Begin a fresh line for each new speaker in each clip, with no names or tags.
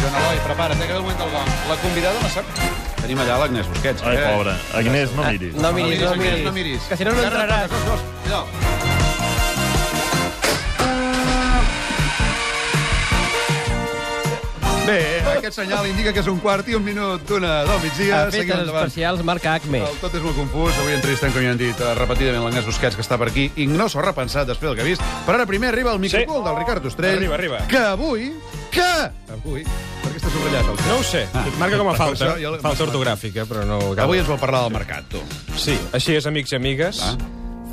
Eloi, prepara't, eh, que ve el moment del gong. La convidada la sap. Tenim allà l'Agnès Busquets.
Ai,
que-
pobra. Agnès, no miris.
No miris, no
Agnès,
miris.
no miris.
Que si no, no
Encara
entraràs.
falta, Dos, dos. Cuidao. Bé, aquest senyal indica que és un quart i un minut d'una del migdia.
Ha fet
Seguim
els
endavant.
especials marca Acme.
El tot és molt confús. Avui entrevistem, com ja hem dit eh, repetidament, l'Agnès Busquets, que està per aquí. Ignoso ha repensat després del que ha vist. Però ara primer arriba el microcul del Ricard Ostrell.
Arriba, arriba.
Que avui... Que avui... Per què està subratllat el
No ho sé,
Ah.
marca com a falta,
Això jo-
falta ortogràfica, però no...
Que avui ens vol parlar del mercat, tu.
Sí, així és, amics i amigues.
Ah.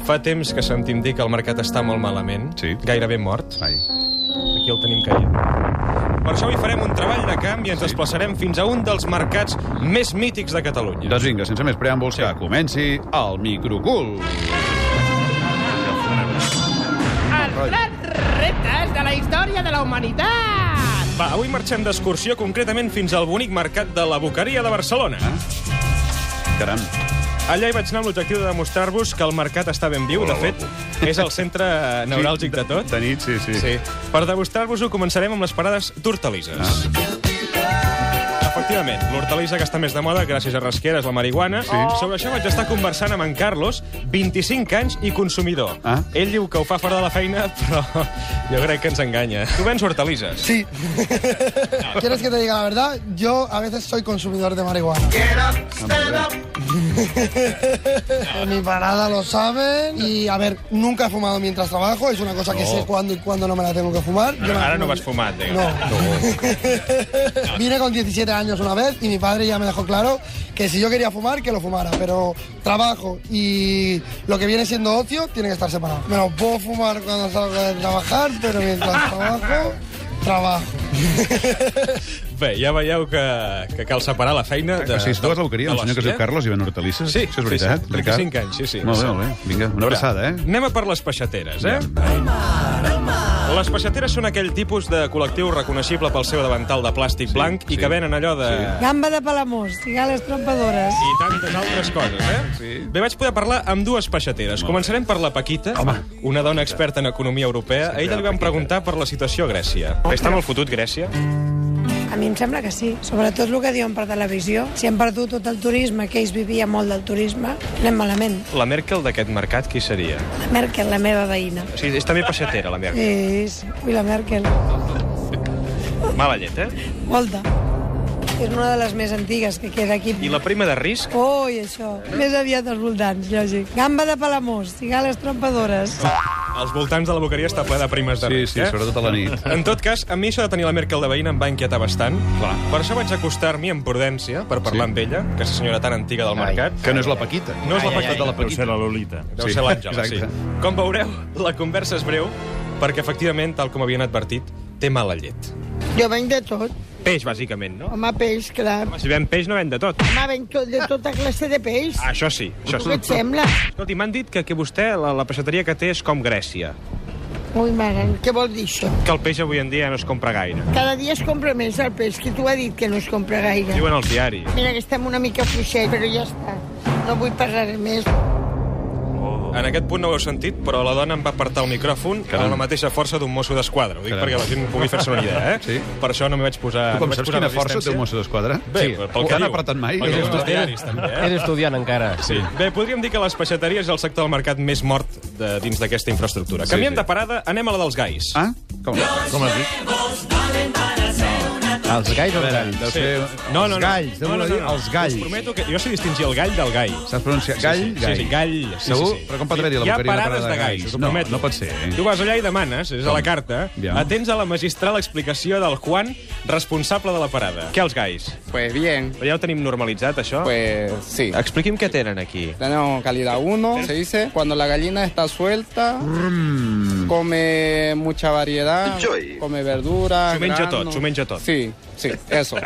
Fa temps que sentim dir que el mercat està molt malament,
Sí.
gairebé mort.
Ai.
Aquí el tenim caient. Per això avui farem un treball de camp i ens desplaçarem fins a un dels mercats més mítics de Catalunya.
Doncs vinga, sense més preàmbuls, que comenci el microcul.
els grans reptes de la història de la humanitat.
Va, avui marxem d'excursió concretament fins al bonic mercat de la Boqueria de Barcelona.
Ah. Caram.
Allà hi vaig anar amb l'objectiu de demostrar-vos que el mercat està ben viu.
Hola,
De fet, és el centre neuràlgic de tot.
De nit, sí, sí.
Sí. Per demostrar-vos-ho, començarem amb les parades d'hortalisses.
Ah.
Efectivament, l'hortalissa que està més de moda gràcies a Rasquera és la marihuana. Sí. Sobre això vaig estar conversant amb en Carlos, 25 anys i consumidor.
Ah.
Ell diu que ho fa fora de la feina, però jo crec que ens enganya. Tu vens hortalisses?
Sí. ¿Quieres que te diga la verdad? Yo a veces soy consumidor de marihuana. En mi parada lo saben. Y a ver, nunca he fumado mientras trabajo. Es una cosa que sé cuándo y cuándo no me la tengo que fumar. Yo me la
Ara
fumo-
no vas fumat, eh?
No. Vine con 17 años una vez y mi padre ya me dejó claro que si yo quería fumar, que lo fumara. Pero trabajo y lo que viene siendo ocio tiene que estar separado. Me lo puedo fumar cuando salgo de trabajar, pero mientras trabajo, trabajo.
Bé, ja veieu que, que cal separar la feina de...
O sigui, si tu vas a l'Uqueria, un
de
senyor que es diu
l'hòstia.
Carlos i ven hortalisses?
Sí,
Això és
sí,
veritat,
sí.
Ricard?
25 anys, sí, sí.
Molt bé, molt bé. Vinga, una abraçada, eh?
Anem a per les peixateres, eh? Les peixateres són aquell tipus de col·lectiu reconeixible pel seu davantal de plàstic blanc i
sí.
que venen allò de...
Gamba de Palamós, cigales trompadores.
I tantes altres coses, eh? Sí. Bé, vaig poder parlar amb dues peixateres. Començarem per la Paquita, Home. una dona experta en economia europea. A ella li van preguntar per la situació a Grècia. Està molt fotut, Grècia?
A mi em sembla que sí, sobretot el que diuen per televisió. Si han perdut tot el turisme, que ells vivia molt del turisme, anem malament.
La Merkel d'aquest mercat, qui seria?
La Merkel, la meva veïna.
O sigui, és també peixatera, la Merkel.
És... Ui, la Merkel.
Mala llet, eh?
Volta. És una de les més antigues que queda aquí.
I la prima de risc?
Ui, això. Més aviat als voltants, lògic. Gamba de Palamós, cigales trompadores.
Als voltants de la boqueria està ple de primes de
Sí,
risc,
sí,
eh?
sobretot a la nit.
En tot cas, a mi això de tenir la Merkel de veïna em va inquietar bastant. Clar. Per això vaig acostar-m'hi amb prudència per parlar sí. amb ella, que és la senyora tan antiga del mercat.
Que no és la Paquita.
No és la
Ai, ai,
Paquita de la
Deu ser
Paquita.
la Lolita.
Deu
Sí,
ser l'Àngela, sí.
exacte.
Com veureu, la conversa és breu, perquè efectivament, tal com havien advertit, té mala llet.
Jo venc de tot.
Peix, bàsicament, no?
Home, peix, clar.
Si ven peix, no ven de tot.
Home, venc tot, de tota classe de peix.
Això sí, això
Què et sembla?
Escolti, m'han dit que, que vostè, la, la peixateria que té és com Grècia,
Ui, mare, què vol dir això?
que el peix avui en dia no es compra gaire.
Cada dia es compra més el peix, que tu ha dit que no es compra gaire.
Diuen els diaris.
Mira, que estem una mica fluixet, però ja està. No vull parlar més.
En aquest punt no ho heu sentit, però la dona em va apartar el micròfon Caram. amb la mateixa força d'un mosso d'esquadra. Ho dic
Caram.
Caram. perquè la gent pugui fer-se una idea, eh?
Sí.
Per això no m'hi vaig posar...
Tu com
no vaig
saps
posar
quina força té
resistència.
un mosso d'esquadra?
Bé, pel que
T'han
diu.
apretat mai?
Pel que diu
No.
els diaris, també, eh?
És estudiant, encara.
Sí. Bé, podríem dir que les peixateries és el sector del mercat més mort de, dins d'aquesta infraestructura. Sí, Canviem
sí.
sí. de parada, anem a la dels gais.
Ah? Com?
Com has dit?
Els gais o els galls?
Deu ser...
No, no, no.
Els galls, deu
no, no,
voler dir
no, no.
els galls.
Us prometo que jo sé distingir el gall del gai.
Saps pronunciar? Gall?
Sí, sí, sí, sí, gall. Sí,
Segur?
sí, sí.
Però com pot haver-hi la
Hi ha
boqueria una
parades
parada
de
de
gais,
galls?
us ho
No,
prometo.
no pot ser, eh?
Tu vas allà i demanes, és a la carta,
Ja.
atents a la magistral explicació del Juan, responsable de la parada. Què els gais?
Pues bien,
Ja ho tenim normalitzat, això?
pues sí.
Expliqui'm què tenen aquí.
Tenemos calidad 1, se dice, cuando la gallina está suelta, come mucha variedad, come verduras.
Su menja tot,
granos.
su menja tot.
Sí, sí, eso.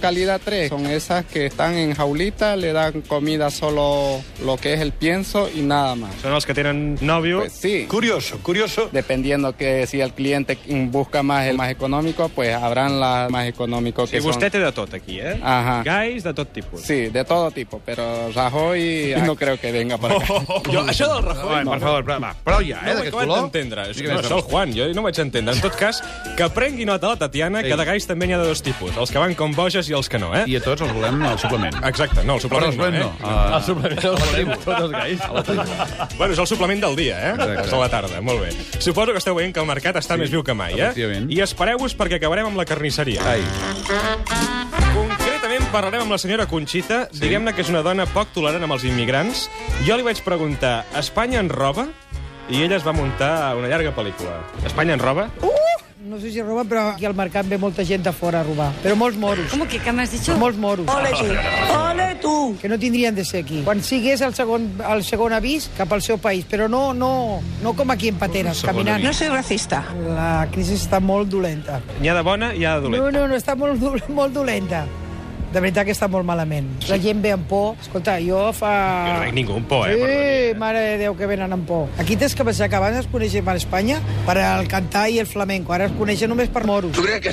calidad 3, son esas que están en jaulita, le dan comida solo lo que es el pienso y nada más.
Són els que tenen nòvio.
Pues sí,
Curioso, curioso.
dependiendo que si el cliente busca más el más económico, pues habrán las más económico que
I
son.
vostè té de tot aquí, eh?
Ajá.
Gais de tot tipus.
Sí, de todo tipo, pero Rajoy ah, no creo que venga para acá.
Oh, Jo, això del Rajoy...
Ai, per favor, però, va, prou ja, eh,
No ho he
d'aquest
acabat
color.
entendre. Això-
Digue'm,
No, això el Juan, jo no ho vaig entendre. En tot cas, que prengui nota la Tatiana, que
Ei.
de gais també n'hi ha de dos tipus, els que van com boges i els que no, eh?
I a tots els volem al suplement.
Exacte, no, el suplement
Però el
no, eh?
suplement no.
El suplement el tenim tots els gais.
Bueno, és el suplement del dia, eh?
Exacte.
És a la tarda, molt bé. Suposo que esteu veient que el mercat està més viu que mai, eh?
efectivament.
I espereu-vos perquè acabarem amb la carnisseria.
Ai,
Concretament parlarem amb la senyora Conxita. Diguem-ne que és una dona poc tolerant amb els immigrants. Jo li vaig preguntar, Espanya en roba? I ella es va muntar una llarga pel·lícula. Espanya en roba?
Uh. No sé si roba, però aquí al mercat ve molta gent de fora a robar. Però molts moros,
¿Cómo que qué me has dicho?
molts moros,
¡Ole tú! ¡Ole tú!
que no tindrien de ser aquí. Quan sigui és el segon, el segon avís cap al seu país, però no, no, no com aquí en Pateres, caminant.
No soy racista.
La crisi està molt dolenta.
N'hi ha de bona i hi ha de
No,
dolenta.
no, no, està molt, dol- molt dolenta. De veritat que està molt malament. La gent ve amb por. Escolta, jo
Jo no
fa...
veig ningú amb por, eh?
Sí, mare de Déu, que venen amb por. Aquí tens que pensar que abans es coneixen per Espanya per el cantar i el flamenco. Ara es coneixen només per moros.
No, jo crec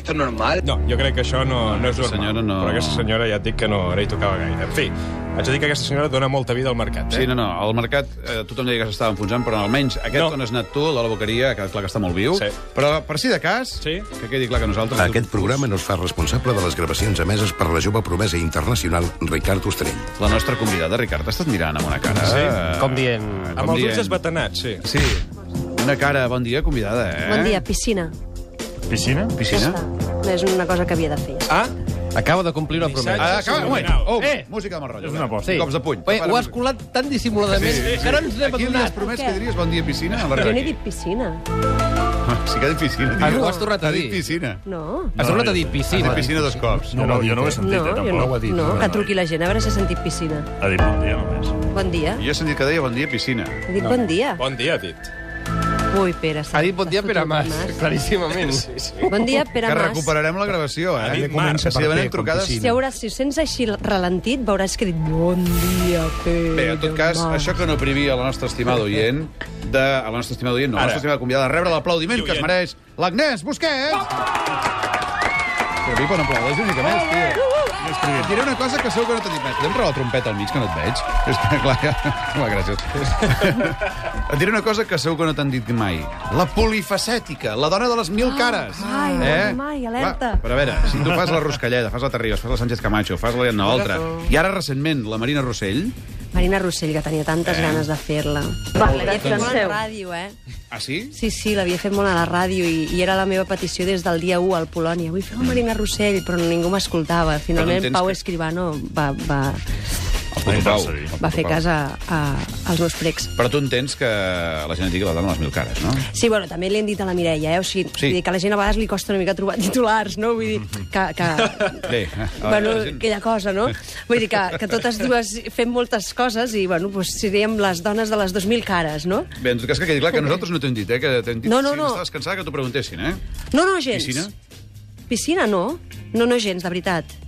que això no, no és normal.
aquesta senyora no-
Però aquesta senyora ja et dic que no, ara hi tocava gaire. En fi, haig de dir que aquesta senyora dona molta vida al mercat, eh?
sí, no, no, el mercat, eh, tothom deia que s'estava enfonsant, però almenys aquest
No.
on has anat tu, la boqueria, que clar que està molt viu.
Sí.
Però, per si de cas,
Sí.
que quedi clar que nosaltres...
Aquest programa no es fa responsable de les gravacions emeses per la jove promesa internacional Ricard Ostrell.
La nostra convidada, Ricard, t'estàs mirant amb una cara...
Sí.
Com dient...
Amb els ulls
dient-
esbatanats, sí.
Sí, una cara, bon dia, convidada, eh?
Bon dia, piscina.
Piscina?
Piscina?
No és una cosa que havia de fer.
Ah,
Acaba de complir una promesa.
Ah, acaba, un moment. Oh, eh! música de mal rotllo.
És una aposta.
Ah, Cops de puny.
Bé, ho has colat tan dissimuladament sí, sí, sí. que no ens n'hem
Aquí li has
adonat.
promès
Què?
que diries bon dia piscina a la
Jo
Raquel.
n'he dit piscina.
Ah, Sí que ha dit piscina.
Ah,
tio.
ho has tornat a
Ha dit
dir.
piscina.
No.
Has tornat a dir
Ha
piscina.
dit piscina dos cops.
No, no, jo no ho he sentit, eh,
no,
tampoc.
no, no, que truqui la gent a veure si ha sentit piscina.
Ha dit bon dia, només.
Bon dia.
Jo he sentit que deia bon dia piscina.
He dit bon dia.
bon dia, ha dit.
Ui, Pere,
Ha
s'ha-
dit bon dia,
t'has
Pere
fotut
Mas, claríssimament.
Bon dia, Pere
Que
Mas.
recuperarem la gravació,
Ha
eh?
dit
Que
Mar,
comença, Si demanem trucades...
Si, hauràs, si ho sents així ralentit, veuràs que he dit bon dia, Pere
Bé, en tot cas,
Mas.
això que no privia la nostra estimada oient, de, a la nostra estimada oient, no, a la
Ara.
nostra estimada convidada, de rebre l'aplaudiment
I
que es
oient.
mereix l'Agnès Busquets! Però vi quan aplaudeix una mica més, tio. Més privat. Et Diré una cosa que segur que no t'he dit més. Podem trobar la trompeta al mig, que no et veig? És que, clar, que... Va, gràcies. Et diré una cosa que segur que no t'han dit mai. La polifacètica, la dona de les mil cares. Eh?
ai, Ah, mai, alerta.
Va, però a veure, si tu fas la Ruscalleda, fas la Terribas, fas la Sánchez Camacho, fas la Ianna Oltra, i ara recentment la Marina Rossell...
Marina Rossell, que tenia
Eh.
tantes ganes de fer-la. Va, l'havia
doncs.
fet molt a la ràdio, eh?
Ah, sí?
Sí, sí, l'havia fet molt a la ràdio i, i era la meva petició des del dia 1 al Polònia. Vull fer la Marina Rossell, però ningú m'escoltava. Finalment,
Però no
Pau
entens que-
Escribano va, va,
El protopau.
va fer cas a, a, als meus precs.
Però tu entens que la gent et digui la dona a les mil cares, no?
Sí, bueno, també li hem dit a la Mireia, eh? O sigui,
Sí. Mhm.
sí. dir, que a la gent a vegades li costa una mica trobar titulars, no? Vull dir, que... que...
Bé, eh, a
bueno,
la gent-
aquella cosa, no? Vull dir que, que totes dues fem moltes coses i, bueno, doncs seríem les dones de les 2.000 cares, no?
Bé, en tot cas, que quedi clar que nosaltres no t'hem dit, eh? Que t'hem dit
No, no,
si
no.
estaves cansada que t'ho preguntessin, eh?
No, no, gens.
Piscina?
Piscina, no. No, no, gens, de veritat.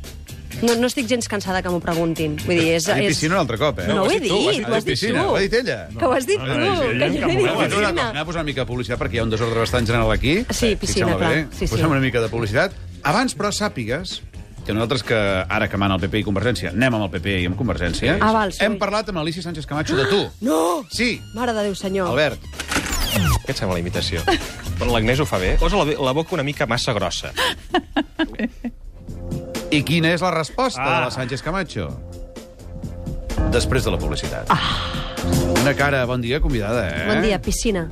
No, no estic gens cansada que m'ho preguntin. Vull dir, és...
Ha dit
és...
piscina un altre cop, eh?
ho
No, ho
has
he
dit tu, ho has
Ha
dit, ho
dit
has dit
piscina,
tu.
ho ha dit ella.
Que ho has dit
No,
tu,
no,
que
ella en cap
jo he dit
Anem a
moment.
piscina. Ah,
posar una mica de publicitat perquè hi ha un desordre bastant general aquí.
Sí,
Eh,
piscina,
fixem-la
clar.
bé.
Sí, sí.
Posem una mica de publicitat. Abans, però, sàpigues que nosaltres que ara que mana el PP i Convergència, anem amb el PP i amb Convergència,
Ah, val, sí.
hem parlat amb Alicia Sánchez Camacho de tu.
No!
Sí,
Mare de Déu, senyor.
Albert.
Què et sembla la imitació? Però l'Agnès ho fa bé. Posa la, la boca una mica massa grossa.
I quina és la resposta de la Sánchez Camacho? Després de la publicitat. Una cara, bon dia, convidada, eh?
Bon dia, piscina.